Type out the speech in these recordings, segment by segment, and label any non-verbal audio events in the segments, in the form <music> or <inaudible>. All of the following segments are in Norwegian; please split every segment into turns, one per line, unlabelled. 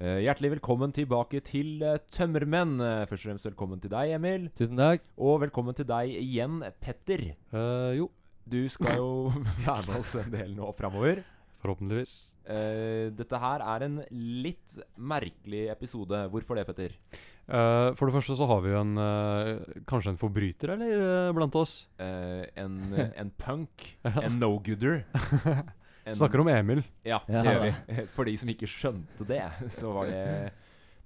Eh, Hjertelig velkommen tilbake til eh, Tømmermenn. Eh, Først og fremst velkommen til deg, Emil.
Tusen takk.
Og velkommen til deg igjen, Petter.
Eh, jo,
Du skal jo <laughs> være med oss en del nå framover.
forhåpentligvis.
Eh, dette her er en litt merkelig episode. Hvorfor det, Petter?
Eh, for det første så har vi jo en eh, kanskje en forbryter, eller, eh, blant oss.
Eh, en, en punk. En no-gooder. En-
Snakker om Emil.
Ja, det
Ja.
gjør vi. <laughs> For de som ikke skjønte det, så var det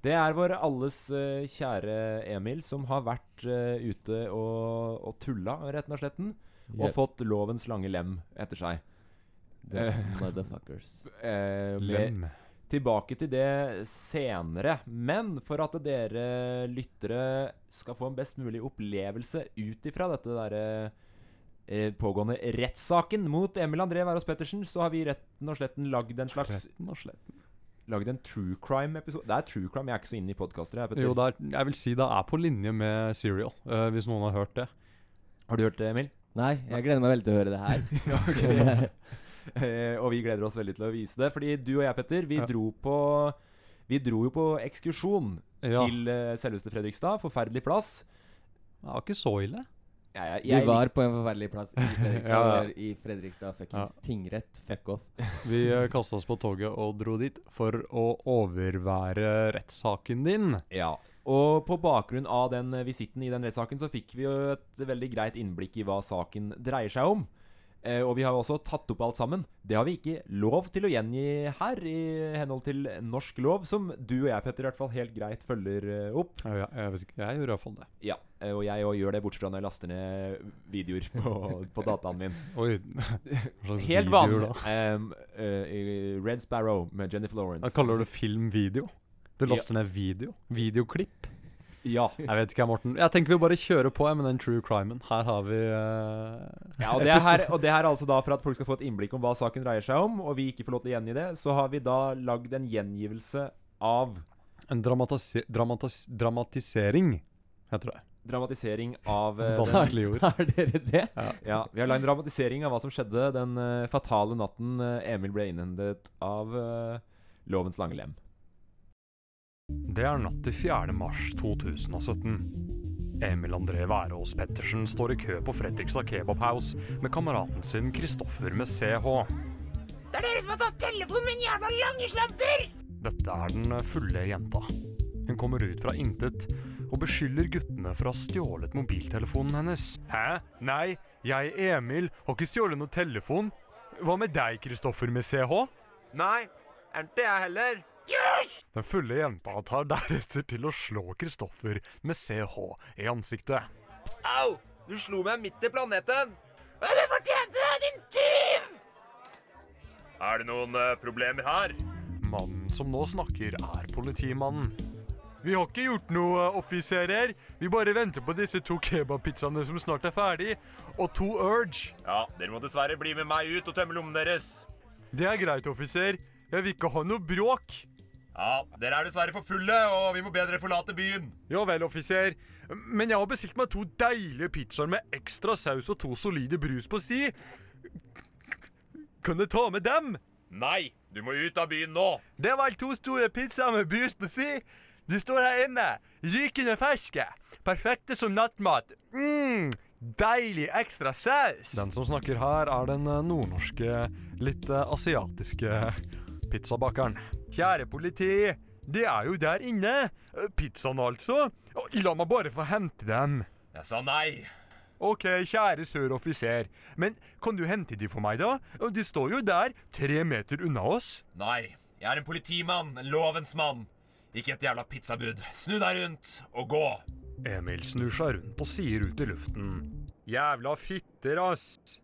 Det er vår alles eh, kjære Emil som har vært eh, ute og, og tulla, retten og sletten, og fått lovens lange lem etter seg.
The <laughs> motherfuckers.
Eh, med,
Lem.
tilbake til det senere. Men for at dere lyttere skal få en best mulig opplevelse ut ifra dette derre eh, pågående rettssaken mot Emil André Wærås Pettersen, så har vi retten og sletten lagd en slags
Retten og sletten.
lagd en true crime-episode. Det er true crime, jeg er ikke så inne i podkaster. jeg, Petter.
Jo, det er, jeg vil si det er på linje med Serial, eh, hvis noen har hørt det.
Har du hørt det, Emil?
Nei, jeg gleder meg veldig til å høre det <laughs> her.
ja, ok. <laughs> Eh, og vi gleder oss veldig til å vise det. Fordi du og jeg, Petter, vi
Ja.
dro på Vi dro jo på ekskursjon
Ja,
til eh, selveste Fredrikstad. Forferdelig plass.
det var ikke så ille.
Jeg, jeg,
Vi
jeg,
var på en forferdelig plass i <laughs> Fredrikstad.
Ja, ja.
eller I Fredrikstad fuckings tingrett. Fuck off.
Vi uh, kasta oss på toget og dro dit for å overvære rettssaken din.
ja. Og på bakgrunn av den eh, visitten i den rettssaken, så fikk vi jo et veldig greit innblikk i hva saken dreier seg om. Eh, og vi har jo også tatt opp alt sammen. Det har vi ikke lov til å gjengi her, i henhold til norsk lov, som du og jeg, Petter, i hvert fall helt greit følger eh, opp.
Ja, Jeg, jeg vet ikke, jeg gjorde iallfall det.
Ja, eh, og jeg òg gjør det, bortsett fra når jeg laster ned videoer på, på dataen min.
Oi, hva slags
<laughs> Helt
videoer
vanlig.
da?
em, eh, Red Sparrow med Jennifer Lawrence.
Jeg kaller det filmvideo. Du laster ned video. Videoklipp.
Ja.
Jeg vet ikke, jeg, Morten. Jeg tenker vi bare kjører på jeg, med den true crimen. Her har vi eh,
ja og, det er her, og det her er altså da for at folk skal få et innblikk om hva saken dreier seg om, og vi ikke får lov til å gjengi det, så har vi da lagd en gjengivelse av
en dramatise dramatis dramatisering, heter det.
Dramatisering av eh, den-
Vanskelig ord.
<laughs> Har dere det?
Ja, Vi har lagd en dramatisering av hva som skjedde den eh, fatale natten eh, Emil ble innhentet av eh, lovens lange lem.
Det er natt til 4. mars 2017. Emil André Wærås Pettersen står i kø på Fredrikstad Kebab House med kameraten sin Kristoffer med CH.
Det er dere som har tatt telefonen min, jævla lange slamper!
Dette er den fulle jenta. Hun kommer ut fra intet og beskylder guttene for å ha stjålet mobiltelefonen hennes. Hæ? Nei, jeg, Emil, har ikke stjålet noen telefon. Hva med deg, Kristoffer med CH?
Nei, er ikke jeg heller.
Den fulle jenta tar deretter til å slå Kristoffer med CH i ansiktet.
Au! Du slo meg midt i planeten. Men du fortjente det, din tyv! Er det noen eh, problemer her?
Mannen som nå snakker, er politimannen. Vi har ikke gjort noe, offiserer. Vi bare venter på disse to kebabpizzaene som snart er ferdig, og to Urge.
Ja, dere må dessverre bli med meg ut og tømme lommene deres.
Det er greit, offiser. Jeg vil ikke ha noe bråk.
Ja, dere er dessverre for fulle, og vi må be dere forlate byen.
Ja vel, offiser. Men jeg har bestilt meg to deilige pizzaer med ekstra saus og to solide brus på si. Kan jeg ta med dem?
Nei, du må ut av byen nå.
Det var to store pizzaer med brus på si. De står her inne, rykende ferske. Perfekte som nattmat. Mm, deilig ekstra saus. Den som snakker her, er den eh, nordnorske, litt eh, asiatiske pizzabakeren. Kjære politi, de er jo der inne. Eh, Pizzaen altså. Å, La meg bare få hente dem.
Jeg sa nei.
Ok, kjære sør offiser, men kan du hente de for meg, da? Eh, De står jo der, tre meter unna oss.
Nei, jeg er en politimann, en lovens mann. Ikke et jævla pizzabud. Snu deg rundt og gå.
Emil snur seg rundt og sier ut i luften. Jævla fitter, ass!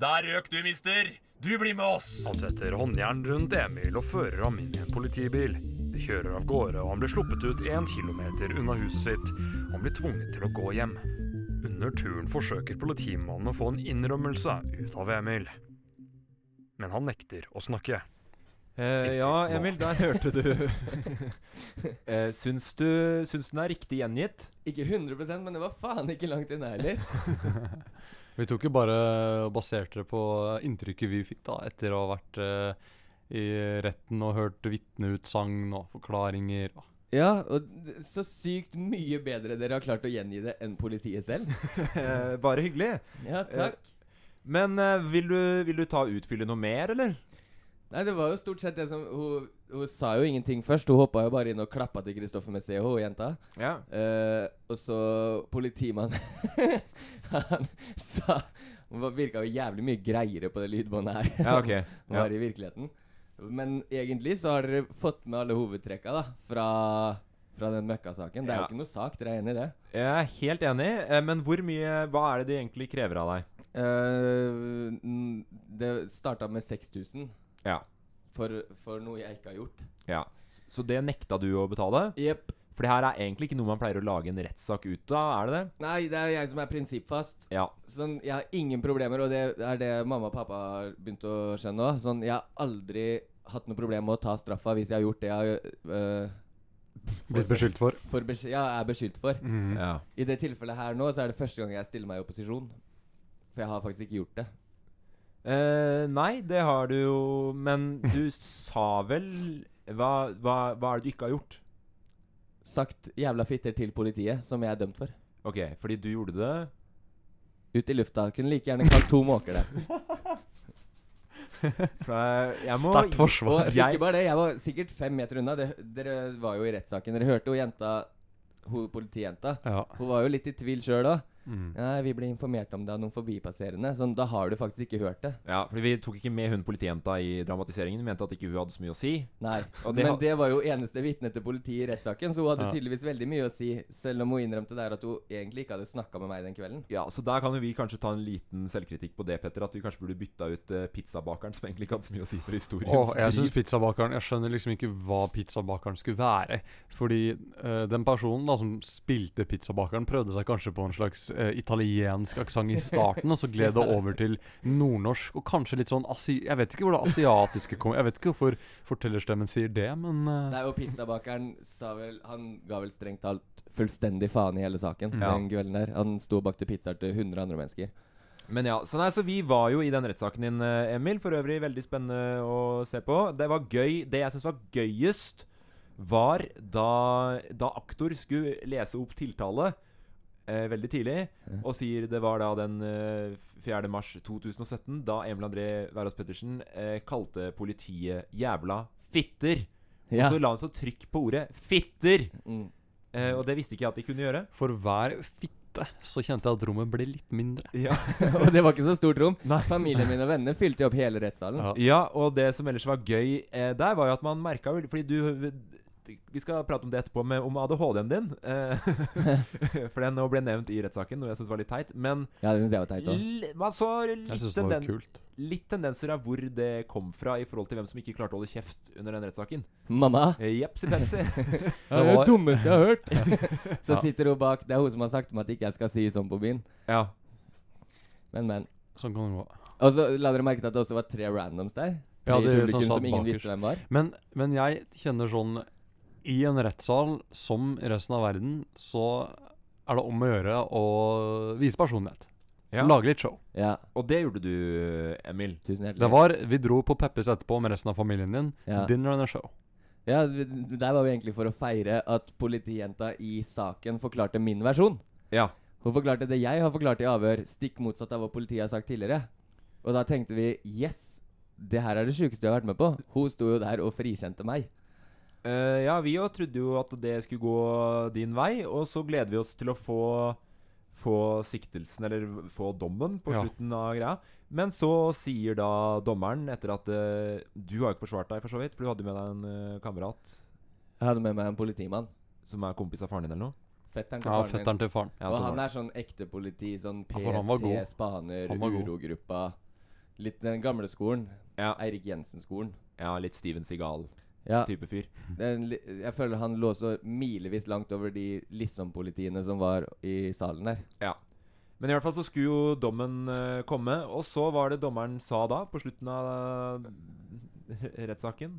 Der røk du, mister. Du blir med oss.
Han setter håndjern rundt Emil og fører ham inn i en politibil. De kjører av gårde, og han blir sluppet ut én kilometer unna huset sitt. Han blir tvunget til å gå hjem. Under turen forsøker politimannen å få en innrømmelse ut av Emil. Men han nekter å snakke.
Eh, ja, Emil, der hørte <laughs> du eh, syns du Syns du den er riktig gjengitt?
Ikke 100 men det var faen ikke langt unna heller.
Vi tok jo bare og baserte det på inntrykket vi fikk da, etter å ha vært eh, i retten og hørt vitneutsagn og forklaringer. og-
<laughs> Ja, og d- så sykt mye bedre dere har klart å gjengi det enn politiet selv.
Eh, Bare hyggelig.
<laughs> Ja, takk.
Men eh, vil, du, vil du ta og utfylle noe mer, eller?
Nei, det var jo stort sett det som Hun, hun sa jo ingenting først. Hun hoppa jo bare inn og klappa til Kristoffer med CH, jenta.
Ja.
Eh, og så politimannen <laughs> Han sa Hun var- virka jo jævlig mye greiere på det lydbåndet her.
Ja, <laughs>
<laughs>
ok.
Hun var i virkeligheten. Men egentlig så har dere fått med alle hovedtrekka da fra, fra den møkkasaken. Det er
Ja.
jo ikke noe sak, dere er enig i det?
Jeg er helt enig, eh, men hvor mye Hva er det de egentlig krever av deg?
Eh, n- det starta med 6000
Ja.
for, for noe jeg ikke har gjort.
ja. S- Så det nekta du å betale?
Jepp.
For det her er egentlig ikke noe man pleier å lage en rettssak ut av, er det det?
Nei, det er jo jeg som er prinsippfast.
Ja.
Sånn, Jeg har ingen problemer, og det er det mamma og pappa har begynt å skjønne òg. Sånn, jeg har aldri hatt noe problem med å ta straffa hvis jeg har gjort det jeg øh,
Blitt beskyldt for. Mm.
for besk ja, er beskyldt for.
ja.
I det tilfellet her nå, så er det første gang jeg stiller meg i opposisjon. For jeg har faktisk ikke gjort det.
Eh, nei, det har du jo Men <laughs> du sa vel hva, hva, hva er det du ikke har gjort?
Sagt jævla fitter til politiet, som jeg er dømt for.
Ok, fordi du gjorde det
Ut i lufta. Kunne like gjerne kalt to måker det.
<laughs>
For jeg- jeg må
Sterkt forsvar.
Og
Jeg-
ikke bare det, jeg var sikkert fem meter unna. Det, dere var jo i rettssaken. Dere hørte jo jenta, ho, politijenta.
Ja.
Hun var jo litt i tvil sjøl òg.
Mm.
Nei, vi ble informert om det av noen forbipasserende. Sånn, da har du faktisk ikke hørt det.
Ja, fordi vi tok ikke med hun politijenta i dramatiseringen. Vi mente at ikke hun hadde så mye å si.
Nei.
<laughs> Og det
Men
ha-
det var jo eneste vitne til politiet i rettssaken, så hun hadde
Ja.
tydeligvis veldig mye å si, selv om hun innrømte der at hun egentlig ikke hadde snakka med meg den kvelden.
Ja, så der kan jo vi kanskje ta en liten selvkritikk på det, Petter. At vi kanskje burde bytta ut eh, pizzabakeren, som egentlig ikke hadde så mye å si for historien.
Åh, jeg synes pizzabakeren Jeg skjønner liksom ikke hva pizzabakeren skulle være. Fordi eh, den personen da som spilte pizzabakeren, prøvde seg kanskje på en slags eh, italiensk aksent i starten, og så gled det over til nordnorsk og kanskje litt sånn asi... Jeg vet ikke hvor det asiatiske kom Jeg vet ikke hvorfor fortellerstemmen sier det, men eh,
Nei, og pizzabakeren sa vel Han ga vel strengt talt fullstendig faen i hele saken
Ja.
den kvelden der. Han sto og bakte pizzaer til 100 andre mennesker.
Men ja, så, nei, så vi var jo i den rettssaken din, eh, Emil. For øvrig veldig spennende å se på. Det var gøy Det jeg syns var gøyest, var da, da aktor skulle lese opp tiltale eh, veldig tidlig, og sier det var da den eh, 4. mars 2017, da Emil André Wærås Pettersen eh, kalte politiet 'jævla fitter'.
Ja.
Og så la han så trykk på ordet 'fitter'.
Mm. <laughs>
Eh, og det visste ikke jeg at de kunne gjøre.
for hver fitte så kjente jeg at rommet ble litt mindre.
Ja,
og det var ikke så stort rom.
Nei.
Familien min og vennene fylte jo opp hele rettssalen.
Ja.
ja og det som ellers var gøy eh, der, var jo at man merka jo Fordi du Vi skal prate om det etterpå, med, om ADHD-en din. Eh, <laughs> for den nå ble nevnt i rettssaken, noe jeg syns var litt teit. Men
Ja, det syns jeg var teit òg.
l man så
Jeg
litt,
syns det var
tenden-
kult.
litt tendenser av hvor det kom fra, i forhold til hvem som ikke klarte å holde kjeft under den rettssaken.
Mamma,
Eh, Jepsi pepsi.
Det er det
var-
dummeste jeg har hørt.
Ja.
<laughs> Så sitter hun bak. Det er hun som har sagt til meg at ikke jeg skal si sånn på byen.
<laughs> ja.
Men, men.
Sånn kan det gå.
Og så la dere merke til at det også var tre randoms der.
Ja,
Tre
det er
publikum
sånn
som,
satt
ingen
bakerst.
visste hvem var.
Men, men jeg kjenner sånn I en rettssal, som i resten av verden, så er det om å gjøre å vise personlighet.
Ja.
Lage litt show.
Ja,
Og det gjorde du, Emil.
tusen hjertelig.
Det var, Vi dro på Peppes etterpå med resten av familien din.
Ja.
Dinner and a show.
Ja, vi- Der var vi egentlig for å feire at politijenta i saken forklarte min versjon.
Ja.
Hun forklarte det jeg har forklart i avhør, stikk motsatt av hva politiet har sagt tidligere. Og da tenkte vi yes, det her er det sjukeste jeg har vært med på. Hun sto jo der og frikjente meg.
Eh, ja, vi jo trodde jo at det skulle gå din vei, og så gleder vi oss til å få, få siktelsen, eller få dommen, på
Ja.
slutten av greia. Men så sier da dommeren, etter at eh, Du har jo ikke forsvart deg, for så vidt, for du hadde jo med deg en eh, kamerat
Jeg hadde med meg en politimann.
som er kompis av faren din, eller noe.
Fetteren til
Ja,
faren min.
Fetteren til faren.
Ja,
og
så var
han
det.
er sånn ekte politi, sånn
Ja, for han var
PST,
god.
spaner,
Han var god.
urogruppa. Litt den gamle skolen.
Ja.
Eirik Jensen-skolen.
ja, litt Steven Seagal-type
Ja,
fyr.
Det er en li- jeg føler han lå så milevis langt over de liksom-politiene som var i salen der.
Ja. Men i hvert fall så skulle jo dommen eh, komme, og så var det dommeren sa da, på slutten av eh, rettssaken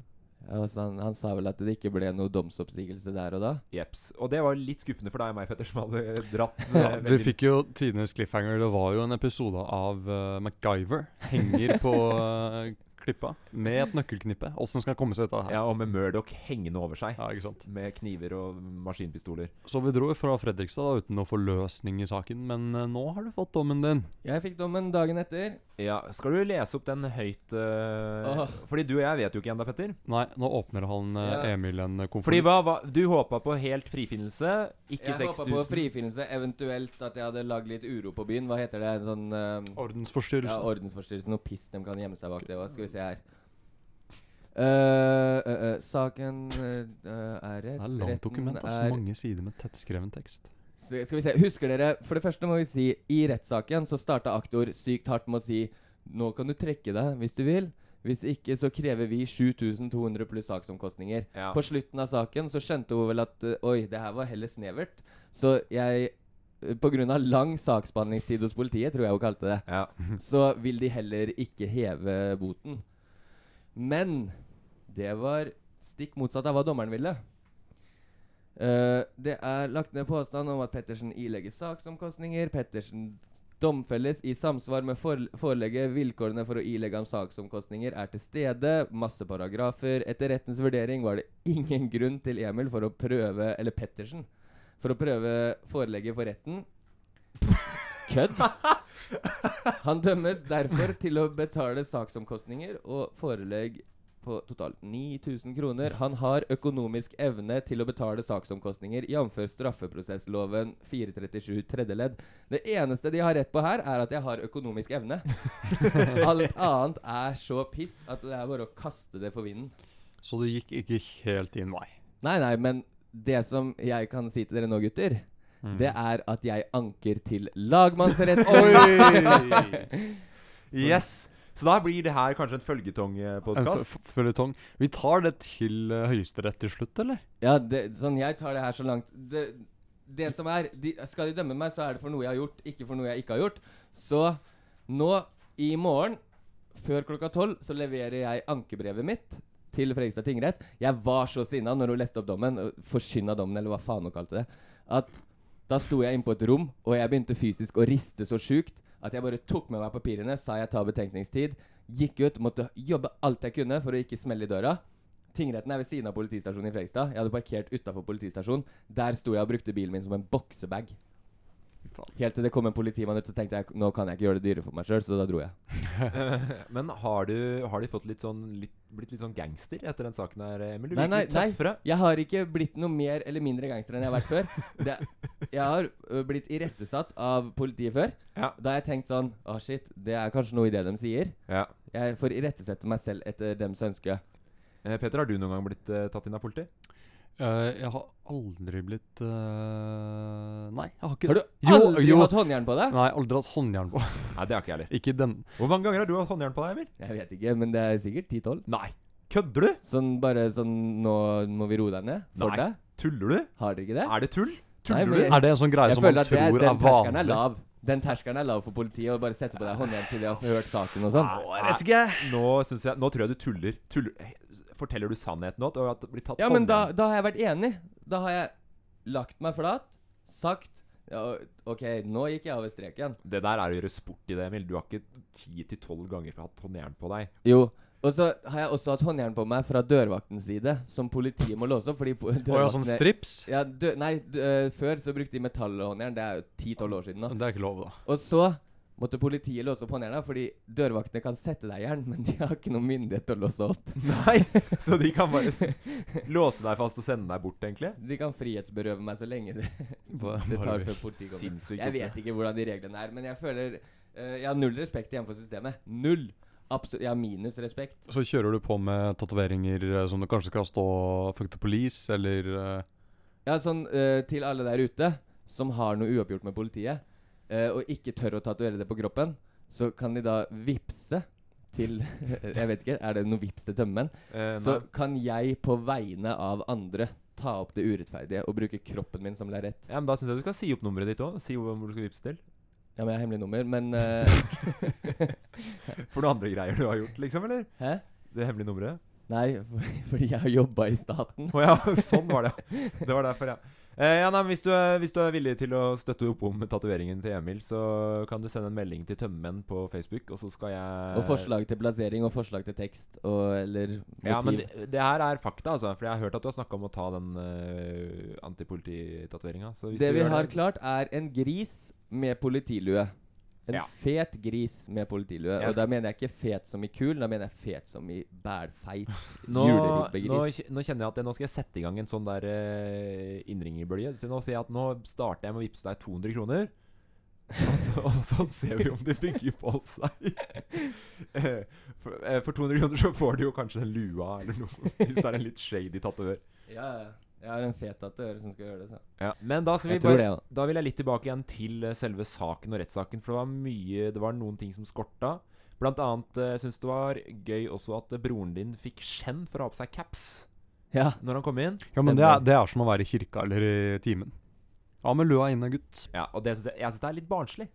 Ja, og så han, han sa vel at det ikke ble noe domsoppsigelse der og da.
Jeps. Og det var litt skuffende for deg og meg, Petter, som hadde
<laughs>
dratt eh,
Ja, vi
veldig-
fikk jo
<laughs>
tidenes cliffhanger. Det var jo en episode av eh, MacGyver. Henger på eh, klippa med et nøkkelknippe. Åssen skal han komme seg ut av det her?
Ja, og med Murdoch hengende over seg.
Ja, ikke sant?
Med kniver og maskinpistoler.
Så vi dro fra Fredrikstad da, uten å få løsning i saken, men eh, nå har du fått dommen din.
Jeg fikk dommen dagen etter.
Ja, Skal du lese opp den høyt eh,
Åh.
Fordi du og jeg vet jo ikke ennå, Petter.
Nei, nå åpner han eh,
Ja.
Emil en
Fordi
konvolutt.
hva, hva Du håpa på helt frifinnelse, ikke
Jeg håpa
6000.
på frifinnelse, eventuelt at jeg hadde lagd litt uro på byen. Hva heter det? En sånn eh, Ja,
Ordensforstyrrelse.
ordensforstyrrelse. Noe piss de kan gjemme seg bak det. Hva skal vi se her. Eh, eh, eh, saken eh, eh, er rett
det er langt dokument.
retten
Altså,
er-
mange sider med tettskreven tekst.
Så Skal vi se, husker dere For det første må vi si I rettssaken så starta aktor sykt hardt med å si Nå kan du trekke deg hvis du vil Hvis ikke så krever vi 7200 pluss saksomkostninger
Ja.
På slutten av saken så skjønte hun vel at eh, Oi, det her var heller snevert Så jeg eh, på grunn av lang saksbehandlingstid hos politiet, tror jeg hun kalte det <laughs>
Ja.
så vil de heller ikke heve boten. Men det var stikk motsatt av hva dommeren ville. Eh, det er lagt ned påstand om at Pettersen ilegges saksomkostninger. Pettersen domfelles i samsvar med for forelegget. Vilkårene for å ilegge ham saksomkostninger er til stede. Masse paragrafer. Etter rettens vurdering var det ingen grunn til Emil for å prøve Eller Pettersen. For å prøve forelegget for retten. Kødd! Han dømmes derfor til å betale saksomkostninger og forelegg på totalt 9000 kroner. Han har økonomisk evne til å betale saksomkostninger, jf. straffeprosessloven 437 tredje ledd. Det eneste de har rett på her, er at jeg har økonomisk evne. Alt annet er så piss at det er bare å kaste det for vinden.
Så det gikk ikke helt din vei.
Nei, nei, men det som jeg kan si til dere nå, gutter, det er at jeg anker til lagmannsretten.
<laughs>
Yes. Så da blir det her kanskje en følgetongpodkast.
<laughs>
Føljetong. Vi tar det til eh, Høyesterett til slutt, eller?
Ja, det, sånn, jeg tar det her så langt Det, det som er de, Skal de dømme meg, så er det for noe jeg har gjort, ikke for noe jeg ikke har gjort. Så nå, i morgen, før klokka tolv, så leverer jeg ankebrevet mitt til Fredrikstad tingrett. Jeg var så sinna når hun leste opp dommen, og forkynna dommen, eller hva faen hun kalte det, at da sto jeg inne på et rom, og jeg begynte fysisk å riste så sjukt at jeg bare tok med meg papirene, sa jeg tar betenkningstid, gikk ut, måtte jobbe alt jeg kunne for å ikke smelle i døra. Tingretten er ved siden av politistasjonen i Fredrikstad. Jeg hadde parkert utafor politistasjonen. Der sto jeg og brukte bilen min som en boksebag. Helt til det kom en politimann ut, så tenkte jeg nå kan jeg ikke gjøre det dyre for meg sjøl, så da dro jeg.
Men har du, har du fått litt sånn, litt, blitt litt sånn gangster etter den saken her, Emil? Du
Nei,
virker
nei,
litt
nei.
tøffere.
Jeg har ikke blitt noe mer eller mindre gangster enn jeg har vært
<laughs>
før. Det, jeg har ø, blitt irettesatt av politiet før.
Ja.
Da har jeg tenkt sånn Å, shit, det er kanskje noe i det de sier.
Ja.
Jeg får irettesette meg selv etter dems ønske.
Eh, Peter, har du noen gang blitt eh, tatt inn av politi?
Eh, jeg har aldri blitt eh, Nei, jeg har ikke
Har du
det.
aldri
jo.
hatt håndjern på deg?
Nei, aldri hatt håndjern på. <laughs>
Nei, det har ikke jeg heller.
Ikke den.
Hvor mange ganger har du hatt håndjern på deg, Emil?
Jeg vet ikke, men det er sikkert 10-12.
Nei. Kødder du?
Sånn bare sånn Nå må vi roe deg ned. For
Nei.
deg.
Tuller du?
Har dere ikke det?
Er det tull?
Nei,
Tuller
men-
du?
Er det en sånn greie
Jeg
som man
føler at det, er-
tror
den
er
terskelen er
vanlig?
lav. Den terskelen er lav for politiet å bare sette på deg håndjern til de har hørt saken og
Ah,
sånn.
Nei, Nå, synes jeg, nå tror jeg du tuller. tuller. Forteller du sannheten nå? At du har blitt tatt
Ja, men da,
håndjern?
da har jeg vært enig. Da har jeg lagt meg flat, sagt ja, OK, nå gikk jeg over streken.
Det der er å gjøre sport i det, Emil. Du har ikke 10-12 ganger hatt håndjern på
<laughs>
deg.
Jo. Og så har jeg også hatt håndjern på meg fra dørvaktens side, som politiet må låse opp. Fordi po-
Å ja, sånn
dørvaktene
strips?
ja, dø, Nei, d- øh, før så brukte de metallhåndjern. Det er jo 10-12 år siden nå.
Det er ikke lov, da.
Og så måtte politiet låse opp håndjerna, fordi dørvaktene kan sette deg i jern, men de har ikke noen myndighet til å låse opp.
Nei, så de kan bare s- låse deg fast og sende deg bort, egentlig?
De kan frihetsberøve meg så
<laughs>
lenge det,
Bare-
det
bare-
tar før politiet kommer.
Sinnssykt.
Jeg vet ikke hvordan de reglene er, men jeg føler eh, Jeg har null respekt igjen for systemet. Null! Absolutt. Jeg har minus respekt.
Så kjører du på med tatoveringer eh, som det kanskje skal stå 'fuck the police' eller eh,
Ja, sånn eh, til alle der ute som har noe uoppgjort med politiet, eh, og ikke tør å tatovere det på kroppen, så kan de da vippse til <laughs> Jeg vet ikke, er det noe vips til tømmermenn?
Eh,
Så
nei.
kan jeg på vegne av andre ta opp det urettferdige og bruke kroppen min som lerret.
Ja, men Da syns jeg du skal si opp nummeret ditt òg. Si hvor hvor du skal vippse til.
Ja, men jeg har hemmelig nummer, men eh,
For noen andre greier du har gjort, liksom? eller?
<laughs> Hæ?
Det hemmelige nummeret?
<laughs>
<laughs>
Nei, for- fordi jeg har jobba i staten.
Å ja, sånn var det. Det var derfor, ja. Eh, ja, nei, men hvis, du er, hvis du er villig til å støtte opp om tatoveringen til Emil, så kan du sende en melding til Tømmermenn på Facebook, og så skal jeg
Og forslag til plassering og forslag til tekst og eller motiv.
Ja, men det, det her er fakta, altså. For jeg har hørt at du har snakka om å ta den uh, antipolititatoveringa. Så hvis
det
du
vi
gjør
har klart, er en gris med politilue. En
Ja.
fet gris med politilue.
Jeg
Og da
skal-
mener jeg ikke fet som i kul, da mener jeg fet som i bælfeit.
nå, nå,
juleribegris.
kj- nå kjenner jeg at jeg, nå skal jeg sette i gang en sånn der uh, innringerbølge. Så nå sier jeg at nå starter jeg med å vippse deg 200 kroner. <laughs> og, så, og så ser vi om det bygger på seg. <laughs> Eh, for, eh, for 200 kroner så får du jo kanskje den lua eller noe. <laughs> Hvis det er en litt shady tatovør.
<laughs> Ja, ja. jeg har en fet tatovør som skal gjøre det. Så.
Ja, men da, skal vi
Jeg tror
bare,
det, ja.
da vil jeg litt tilbake igjen til eh, selve saken og rettssaken. For det var mye Det var noen ting som skorta. Blant annet eh, syns det var gøy også at eh, broren din fikk skjenn for å ha på seg caps
Ja,
når han kom inn.
Ja, men det er, det er som å være i kirka eller i timen. Ja, men lua inne, gutt.
Ja, og det synes jeg, jeg syns det er litt barnslig.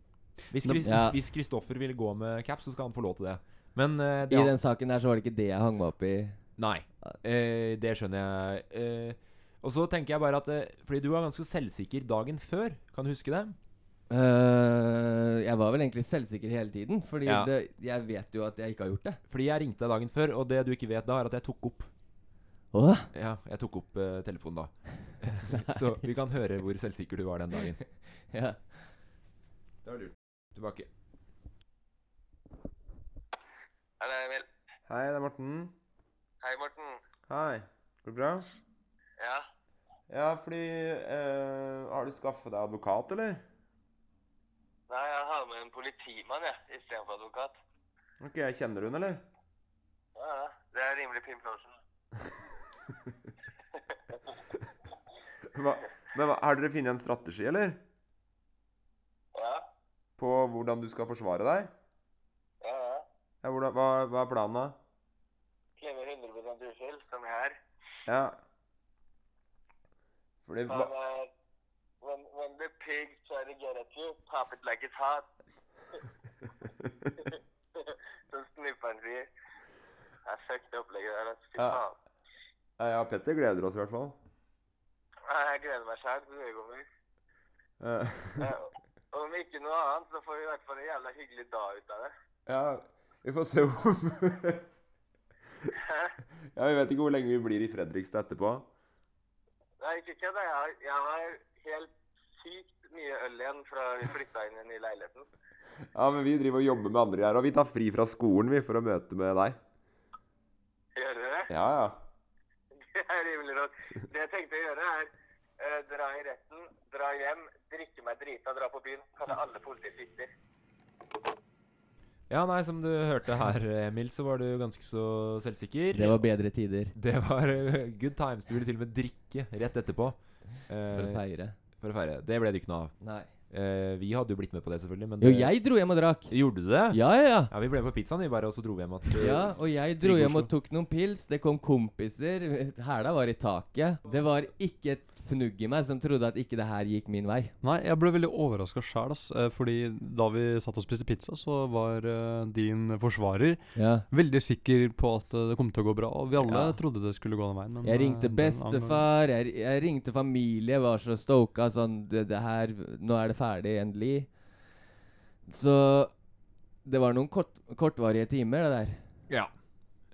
Hvis,
Nå-
Chris,
ja.
hvis Kristoffer ville gå med caps, så skal han få lov til det. Men eh,
I
det,
den saken der så var det ikke det jeg hang meg opp i.
Nei. Eh, det skjønner jeg. Eh, og så tenker jeg bare at eh, Fordi du var ganske selvsikker dagen før, kan du huske det?
Øh, jeg var vel egentlig selvsikker hele tiden, Fordi
Ja.
det, jeg vet jo at jeg ikke har gjort det.
Fordi jeg ringte deg dagen før, og det du ikke vet da, er at jeg tok opp.
Åh,
Ja, jeg tok opp eh, telefonen
<laughs>
da. så vi kan høre hvor selvsikker du var den dagen.
ja.
Det var lurt. Tilbake.
Hallo, Emil.
Hei, det er Morten.
Hei, Morten.
Hei. Går det bra?
Ja,
Ja, fordi eh, Har du skaffet deg advokat, eller?
nei, jeg har med en politimann, jeg, i stedet for advokat.
Ok, jeg kjenner hun, eller?
Ja, ja, det er rimelig pimplosen.
Hva, men hva, har dere funnet en strategi, eller?
Ja,
På hvordan du skal forsvare deg?
ja, ja.
Ja, hvordan, hva, hva er planen, da?
Klemme 100% uskyld, som jeg er.
Ja. Fordi hva,
Men eh, when, when the pig try to get at you, pop it like it's <laughs> hot. Som snipperen sier. Jeg søkte opplegget der, altså. Fy
Ja.
faen.
Ja, Petter gleder oss i hvert <laughs> fall.
Nei, Jeg gleder meg selv til det kommer.
Eh,
Eh, Om ikke noe annet, så får vi i hvert fall en jævla hyggelig dag ut av det.
ja, vi får se om Ja, vi vet ikke hvor lenge vi blir i Fredrikstad etterpå.
Nei, ikke kødd. da. Jeg, har- jeg har helt sykt mye øl igjen fra vi flytta inn i den nye leiligheten.
Ja, men vi driver og jobber med andre her, og vi tar fri fra skolen vi for å møte med deg.
Gjør dere det? <laughs>
Ja, ja.
Det er rimelig rått. Det jeg tenkte å gjøre, er eh, dra i retten, dra hjem, drikke meg drita, dra på byen. Kalle alle politifitter.
Ja, nei, som du hørte her, Emil, så var du ganske så selvsikker.
Det var bedre tider
Det var, eh, good times. Du ville til og med drikke rett etterpå.
for å
eh,
feire.
for å feire. Det ble det ikke noe av.
Nei.
Eh, vi hadde jo blitt med på det, selvfølgelig, men
Jo,
det-
jeg dro hjem og drakk.
Gjorde du det?
Ja, ja, ja.
Ja, vi ble med på pizzaen, vi bare, og så dro vi hjem. At,
Ja, og jeg dro
Trygg
hjem og
Oslo.
tok noen pils. Det kom kompiser. Hæla var i taket. Det var ikke et fnugg i meg som trodde at ikke det her gikk min vei.
Nei, jeg ble veldig overraska sjæl, ass. eh, Fordi da vi satt og spiste pizza, så var eh, din forsvarer
Ja.
veldig sikker på at eh, det kom til å gå bra. Og vi alle
Ja.
trodde det skulle gå den veien. men,
Jeg
eh,
ringte
den angangen-
bestefar, jeg, jeg ringte familie, var så stoka sånn det, det her, Nå er det ferdig, endelig. Så det var noen kort, kortvarige timer, det der.
Ja.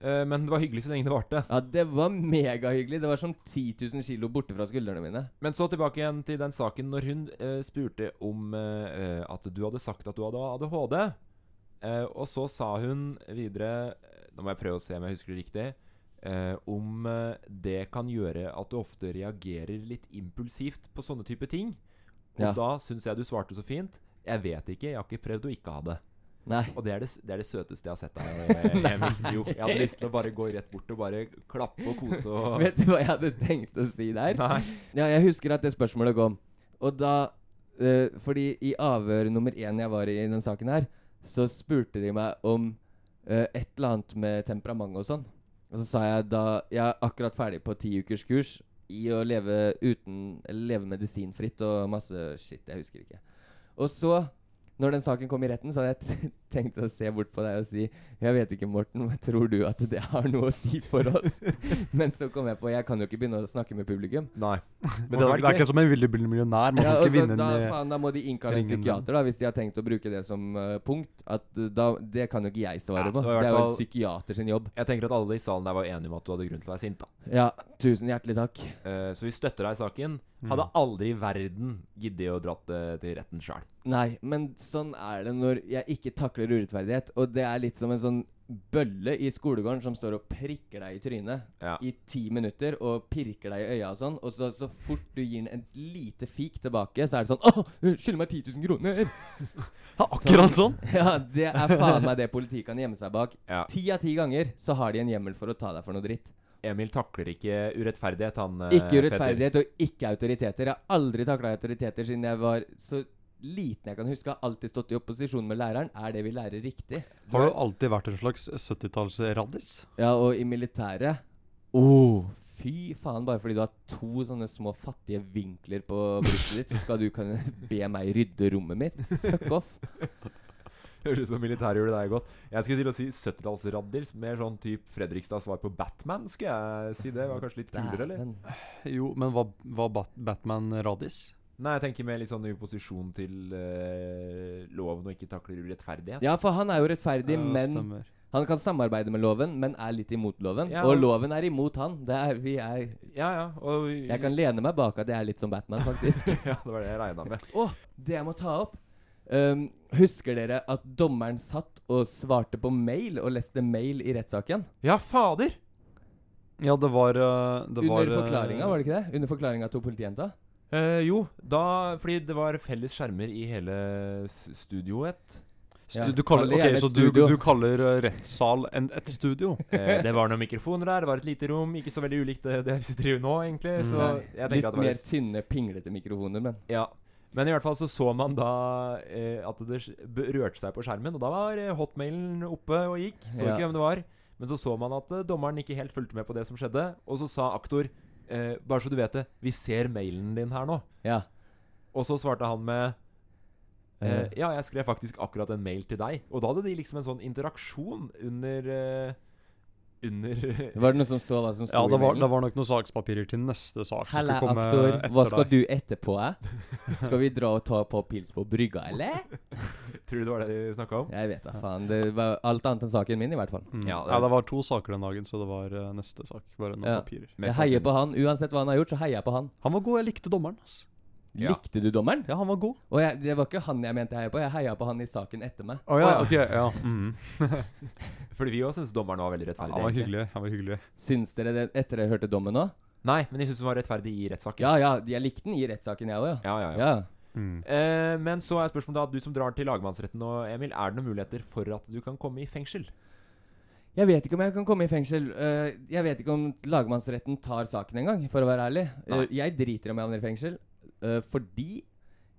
Eh, men det var hyggelig så lenge det varte.
Ja, det var megahyggelig. Det var som 10 000 kilo borte fra skuldrene mine.
Men så tilbake igjen til den saken når hun eh, spurte om eh, eh, at du hadde sagt at du hadde ADHD. Eh, og så sa hun videre eh, Nå må jeg prøve å se om jeg husker det riktig. eh, om eh, det kan gjøre at du ofte reagerer litt impulsivt på sånne type ting. Og
Ja.
da syns jeg du svarte så fint. Jeg vet ikke, jeg har ikke prøvd å ikke ha det.
Nei.
Og det er det, s- det, er det søteste jeg har sett deg, Emil. Jo, jeg hadde lyst til å bare gå rett bort og bare klappe og kose og
Vet du hva jeg hadde tenkt å si der?
Nei.
Ja, jeg husker at det spørsmålet kom. Og da eh, Fordi i avhør nummer én jeg var i i den saken her, så spurte de meg om eh, et eller annet med temperament og sånn. Og så sa jeg da Jeg er akkurat ferdig på ti ukers kurs i å leve uten Eller leve medisinfritt og masse shit. Jeg husker ikke. Og så, når den saken kom i retten, så hadde jeg t- <laughs> tenkte å se bort på deg og si Jeg vet ikke, Morten, men tror du at det har noe å si for oss? Men så kom jeg på Jeg kan jo ikke begynne å snakke med publikum.
Nei. Men
Det
det
er,
hadde vært
ikke som en villig millionær. Man
Ja,
kan
og
ikke
så
vinne en
da,
eh,
faen, da må de innkalle en
ringen.
psykiater, da, hvis de har tenkt å bruke det som eh, punkt. At eh, da, Det kan jo ikke jeg
Ja,
svare på.
det var i
Det er
hvert
jo en
fall-
psykiater sin jobb.
Jeg tenker at alle i salen der var enige om at du hadde grunn til å være sint. da
Ja, tusen hjertelig takk.
Eh, Så vi støtter deg i saken.
Mm.
Hadde aldri i verden giddet å dratt det til retten sjøl.
Nei, men sånn er det når jeg ikke takler urettferdighet. Og det er litt som en sånn bølle i skolegården som står og prikker deg i trynet
Ja.
i ti minutter og pirker deg i øya og sånn. Og så, så fort du gir den en lite fik tilbake, så er det sånn Å, skyld meg 10 000 kroner!
<laughs> Akkurat sånn!
<laughs> Ja, det er faen meg det politiet kan gjemme seg bak.
Ja.
Ti av ti ganger så har de en hjemmel for å ta deg for noe dritt.
Emil takler ikke urettferdighet, han eh,
Ikke
Petter.
urettferdighet og ikke autoriteter. Jeg har aldri takla autoriteter siden jeg var så liten jeg kan huske. Har alltid stått i opposisjon med læreren. Er det vi lærer, riktig?
Har du alltid vært en slags 70-tallsraddis?
Ja, og i militæret oh, Fy faen, bare fordi du har to sånne små fattige vinkler på brystet ditt, så skal du kunne be meg rydde rommet mitt? Fuck off.
<laughs> Høres ut som militæret gjorde deg godt. Jeg skulle til å si 70-tallsradders. Mer sånn type Fredrikstads svar på Batman, skulle jeg si. Det var kanskje litt kulere, eller?
Dæven.
Jo, men var, var Bat Batman raddis?
Nei, jeg tenker mer litt sånn i opposisjon til eh, loven og ikke takler urettferdighet.
Ja, for han er jo rettferdig, men
stemmer.
han kan samarbeide med loven, men er litt imot loven.
Ja.
Og loven er imot han. Det er, vi er,
Ja, ja. Og vi,
jeg kan lene meg bak at jeg er litt som Batman, faktisk.
<laughs>
<laughs>
ja det var det jeg regna med.
Å, det jeg må ta opp. Ehm, husker dere at dommeren satt og svarte på mail og leste mail i rettssaken?
Ja, fader!
Ja, det var eh, det var,
Under
eh,
forklaringa, var det ikke det? Under forklaringa til politijenta?
Eh, jo, da Fordi det var felles skjermer i hele s- studioet.
Stu,
Ja,
du
kall
kaller,
det gjerne
ok, så
et
du,
studio.
du kaller eh, rettssal en, et
<laughs>
studio?
Eh, det var noen mikrofoner der, det var et lite rom. Ikke så veldig ulikt eh, det, det vi sitter i nå, egentlig. Så
Nei,
jeg
Litt
tenker at det var
mer tynne, pinglete mikrofoner, men
Ja. Men i hvert fall så så man da eh, at det sk- b- rørte seg på skjermen, og da var eh, hotmailen oppe og gikk. Så
Ja.
ikke hvem det var. Men så så man at eh, dommeren ikke helt fulgte med på det som skjedde, og så sa aktor eh, Bare så du vet det, vi ser mailen din her nå.
ja.
Og så svarte han med eh,
Eh.
Ja, jeg skrev faktisk akkurat en mail til deg. Og da hadde de liksom en sånn interaksjon under eh, Under
Var det noen som så hva som sto
Ja,
i
det var,
mailen?
det var nok noen sakspapirer til neste sak. som
Halla,
skulle komme
aktor.
etter
Hva skal
deg.
du etterpå, eh? Skal vi dra og ta på pils på brygga, eller?
<laughs> Tror du det var det de snakka om?
Jeg vet da faen. Det var alt annet enn saken min, i hvert fall.
Mm.
Ja,
Ja,
det-
det... var to saker den dagen, så det var eh, neste sak. Bare noen
Ja.
papirer.
Jeg heier på han. Uansett hva han har gjort, så heier jeg på han.
Han var god, jeg likte dommeren. ass.
Ja.
Likte du dommeren?
Ja, han var god.
Og jeg, det var ikke han jeg mente heia på, jeg heia på han i saken etter meg.
Å ja, ok, ja. Mm.
Fordi vi òg syns dommeren var veldig
Han
rettferdig.
var
egentlig.
hyggelig. Han var hyggelig.
Syns dere det etter dere hørte dommen nå?
Nei, men jeg syns hun var rettferdig i rettssaken.
Ja ja, jeg likte den i rettssaken jeg òg, ja.
Ja, ja, ja.
ja.
Mm.
Eh, men så er spørsmålet da, du som drar til lagmannsretten nå, Emil, er det noen muligheter for at du kan komme i fengsel?
Jeg vet ikke om jeg kan komme i fengsel. Eh, jeg vet ikke om lagmannsretten tar saken engang, for å være ærlig. Eh,
Nei.
jeg driter om jeg havner i fengsel, eh, fordi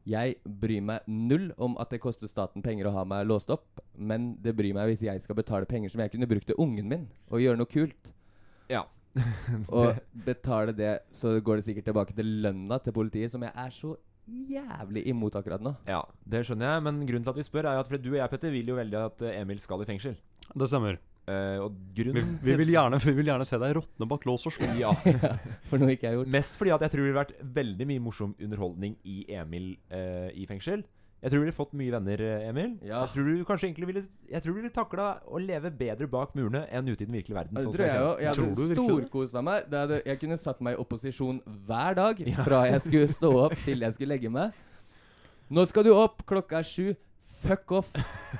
jeg bryr meg null om at det koster staten penger å ha meg låst opp, men det bryr meg hvis jeg skal betale penger som jeg kunne brukt til ungen min, og gjøre noe kult.
Ja.
<laughs> Og betale det, så går det sikkert tilbake til lønna til politiet, som jeg er så jævlig imot akkurat nå.
Ja, det skjønner jeg, men grunnen til at vi spør, er jo at for du og jeg, Petter, vil jo veldig at eh, Emil skal i fengsel.
Det stemmer.
Eh, og
Vi,
grunnen
vi, vil gjerne, vi vil gjerne se deg råtne bak lås og slå.
Ja.
For noe ikke jeg har gjort.
Mest fordi at jeg tror det ville vært veldig mye morsom underholdning i Emil eh, i fengsel. Jeg tror du ville fått mye venner, eh, Emil.
Ja.
Jeg tror du kanskje egentlig ville Jeg tror du ville takla å leve bedre bak murene enn ute i den virkelige verden.
Det
sånn som
tror jeg jo.
kjenner.
Jeg
Tror du
hadde
virkelig det?
storkosa meg. Det hadde, jeg kunne satt meg i opposisjon hver dag fra jeg skulle stå opp til jeg skulle legge meg. Nå skal du opp, klokka er sju. Fuck off.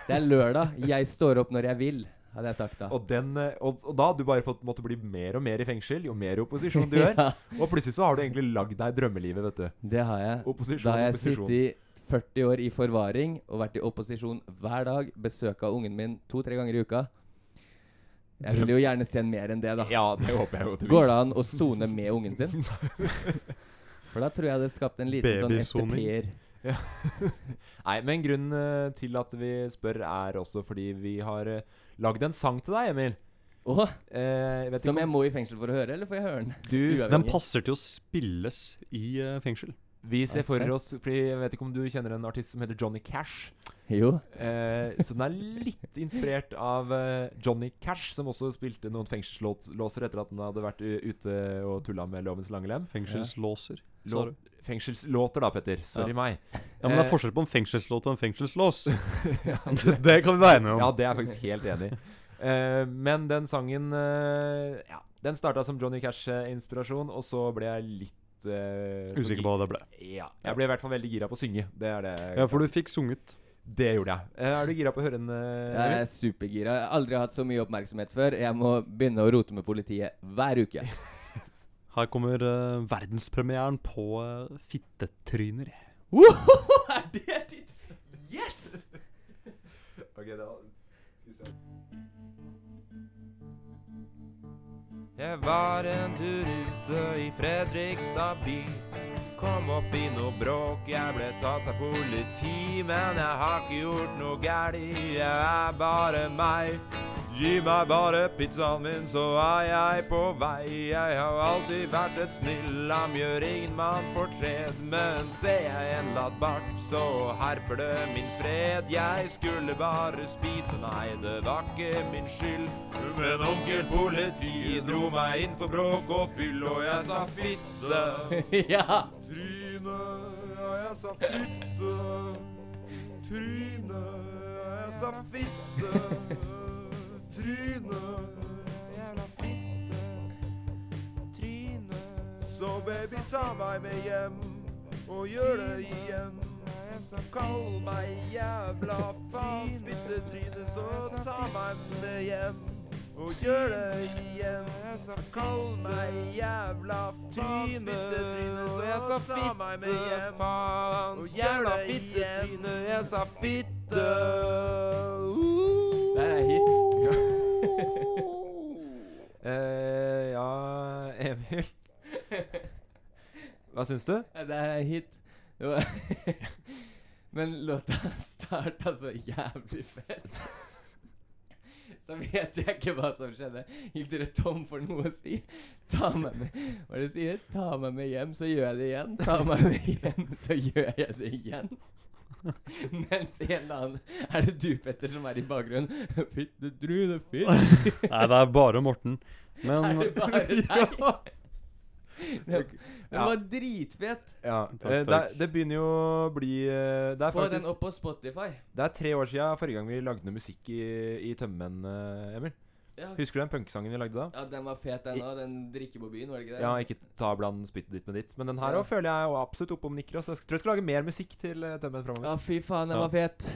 Det er lørdag. Jeg står opp når jeg vil, hadde jeg sagt da.
Og, den, eh, og, og da har du bare fått, måtte bli mer og mer i fengsel, jo mer opposisjon
<laughs>
du gjør.
Ja,
Og plutselig så har du egentlig lagd deg drømmelivet, vet du.
det har jeg.
Opposisjon,
Da har jeg
opposisjon.
sittet i 40 år i forvaring og vært i opposisjon hver dag. Besøka ungen min to-tre ganger i uka. Jeg vil jo gjerne se mer enn det, da.
Ja, det håper jeg jo du
Går det an å sone med ungen <laughs> sin? For da tror jeg det skapte en liten sånn
Babysoning.
FTP-er.
<laughs> Nei, men grunnen eh, til at vi spør, er også fordi vi har eh, lagd en sang til deg, Emil.
Åh,
Eh, vet
som
ikke
jeg
om
må i fengsel for å høre, eller får jeg høre den?
du
Uavhengig.
Den passer til å spilles i eh, fengsel.
Vi ser for oss Fordi Jeg vet ikke om du kjenner en artist som heter Johnny Cash.
Jo.
Eh, så den er litt inspirert av eh, Johnny Cash, som også spilte noen fengselslåser etter at han hadde vært u- ute og tulla med lovens lange lem.
Fengselslåser. sa
Lå-
du.
Fengselslåter, da, Petter. Sorry
Ja.
meg.
Ja, men det
Eh,
er forskjell på en fengselslåt og en <laughs> fengselslås. det, det kan vi være enige om.
Ja, det er jeg faktisk helt enig i. Eh, men den sangen eh, Ja, den starta som Johnny Cash-inspirasjon, og så ble jeg litt eh,
Usikker på hva det ble.
Ja. Jeg ble i hvert fall veldig gira på å synge. Det er det.
Ja, for du fikk sunget.
Det gjorde jeg. Eh, er du gira på å høre en eh,
Jeg er
Emil?
supergira. Jeg har aldri hatt så mye oppmerksomhet før. Jeg må begynne å rote med politiet hver <laughs> uke.
Her kommer eh, verdenspremieren på eh, <laughs> fittetryner.
er <laughs> det ditt? Yes!
<laughs> Ok, da-
Jeg var en tur ute i Fredrikstad by. Kom opp i noe bråk, jeg ble tatt av politi. Men jeg har ikke gjort noe galt, jeg er bare meg. Gi meg bare pizzaen min, så er jeg på vei. Jeg har alltid vært et snill lam, gjør ingen mann fortred. Men ser jeg en latt bart, så herper det min fred. Jeg skulle bare spise, nei, det var ikke min skyld. Men onkel politi dro meg inn for bråk og fyll, og jeg sa fitte.
ja.
Tryne, og jeg sa fitte. Tryne, og jeg sa fitte. Tryne, jævla fitte. Tryne. Så baby, ta meg med hjem, og gjør det igjen. Så kall meg jævla faen, spyttetryne, så ta meg med hjem. Og gjør det igjen. Så kall meg jævla faen, spyttetryne, så ta meg med hjem. Og gjør det igjen. Jeg sa fitte.
Der er hit.
Eh, ja,
<laughs>
Emil. Hva syns du?
Ja, Det her er hit. Det var- <laughs> Men låta starta så jævlig fett. <laughs> Så vet jeg ikke hva som skjedde. Gikk dere tom for noe å si? Ta meg med Hva er det jeg sier? Ta meg med hjem, så gjør jeg det igjen. Ta meg med hjem, så gjør jeg det igjen. <laughs> Mens en eller annen Er det du, Petter, som er i bakgrunnen? <laughs> Fitte drune,
<laughs>
fitte
Nei, det er bare Morten.
Er
Men
det bare
<laughs>
deg? Den den
Ja.
var dritfet.
Ja,
Takk,
eh,
takk.
Det, det begynner jo å bli eh, Det er
Få den
faktisk
opp på Spotify.
Det er tre år siden forrige gang vi lagde noe musikk i, i Tømmen, eh, Emil.
Ja.
Husker du den punkesangen vi lagde da?
Ja, den var fet, den òg. Den drikker på byen, var det ikke det?
Ja, ikke ta bland spyttet ditt med ditt. Men den her
Ja.
også føler jeg jo absolutt opp om nikker. også. Jeg tror jeg skal lage mer musikk til eh, Tømmen framover.
Ja, fy faen, den
Ja.
var fet.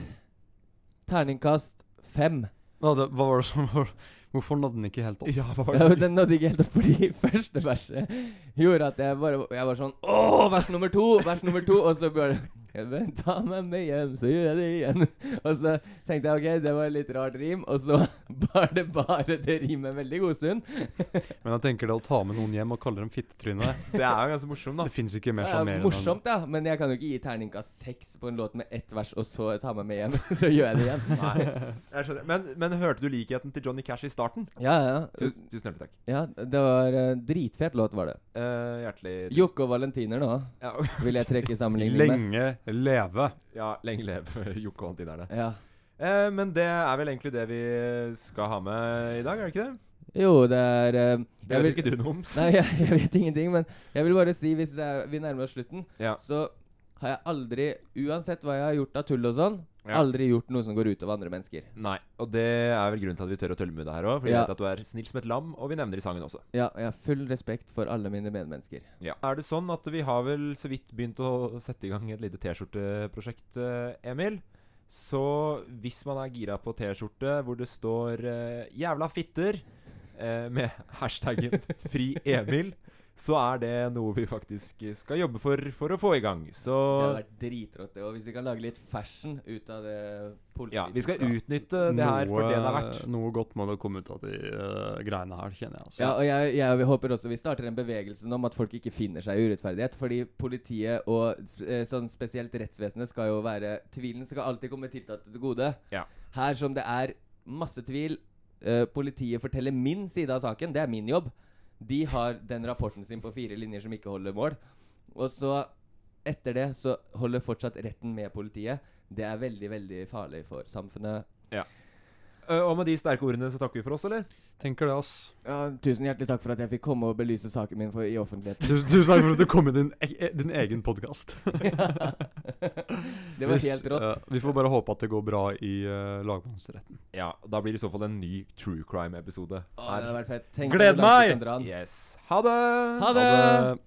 Terningkast fem.
hva det- hva var det som var Hvorfor nådde den ikke helt opp?
Ja, hva var det
Ja,
som-
men den nådde ikke helt opp fordi <laughs> første verset gjorde at jeg bare Jeg var sånn Åh, vers nummer to! Vers nummer to! Og så bare «Ja, men Ta meg med hjem, så gjør jeg det igjen. Og så tenkte jeg OK, det var et litt rart rim, og så <laughs> var det bare det rimet en veldig god stund.
Men jeg tenker det å ta med noen hjem og kalle dem fittetryne
Det er jo ganske morsomt, da.
Det fins ikke mer
Ja,
sjarmerende. enn det.
morsomt, da, men jeg kan jo ikke gi terningkast seks på en låt med ett vers, og så ta meg med hjem. <laughs> Så gjør jeg det igjen.
Nei, jeg skjønner. Men, men hørte du likheten til Johnny Cash i starten?
Ja, ja. ja.
Tusen, tusen hjertelig takk.
Ja, det var eh, dritfet låt, var det.
Eh, hjertelig tusen.
Jokke og Valentiner nå,
Ja, <laughs>
vil jeg trekke i sammenligning med.
Lenge leve.
ja, lenge lev <laughs> Jokke og Antinerne.
Ja.
Eh, men det er vel egentlig det vi skal ha med i dag, er det ikke det?
Jo, det er eh,
Det
jeg
vet
vil-
ikke du noe om. så-
Nei, <laughs> jeg, jeg vet ingenting, men jeg vil bare si, hvis det er, vi nærmer oss slutten,
Ja.
så har jeg aldri, uansett hva jeg har gjort av tull og sånn,
Ja.
aldri gjort noe som går ut over andre mennesker.
Nei, og det er vel grunnen til at vi tør å tølle med deg her òg. For vi
Ja.
vet at du er snill som et lam, og vi nevner i sangen også.
Ja, jeg har full respekt for alle mine medmennesker.
Er det sånn at vi har vel så vidt begynt å sette i gang et lite T-skjorteprosjekt, eh, Emil? Så hvis man er gira på T-skjorte hvor det står eh, 'jævla fitter' eh, med <laughs> hashtaggen 'fri Emil', så er det noe vi faktisk skal jobbe for for å få i gang.
Det hadde
Så
vært dritrått, det. Og hvis vi kan lage litt fashion ut av det
ja,
politiet
vi skal utnytte det her for det det er verdt.
noe godt må det komme ut av de eh, greiene her, kjenner jeg. Altså.
Ja, og jeg, jeg håper også vi starter en bevegelse om at folk ikke finner seg i urettferdighet. Fordi politiet og s- eh, sånn spesielt rettsvesenet skal jo være Tvilen skal alltid komme tiltalte til gode.
Ja.
Her som det er masse tvil, eh, politiet forteller min side av saken, det er min jobb. De har den rapporten sin på fire linjer som ikke holder mål. Og så etter det så holder fortsatt retten med politiet. Det er veldig, veldig farlig for samfunnet.
Eh, Og med de sterke ordene så takker vi for oss, eller?
Tenker det, ass.
Ja, tusen hjertelig takk for at jeg fikk komme og belyse saken min for, i offentligheten.
Tusen, tusen takk for at du kom i din, e- e- din egen podkast.
det var helt rått.
vi får bare håpe at det går bra i eh, lagmannsretten.
Ja, da blir det i så fall en ny true crime-episode.
Å, det hadde vært fett. Tenk
Gled
hvor langt vi
meg!
kan dra den.
Yes. Ha det!
Ha det!
det.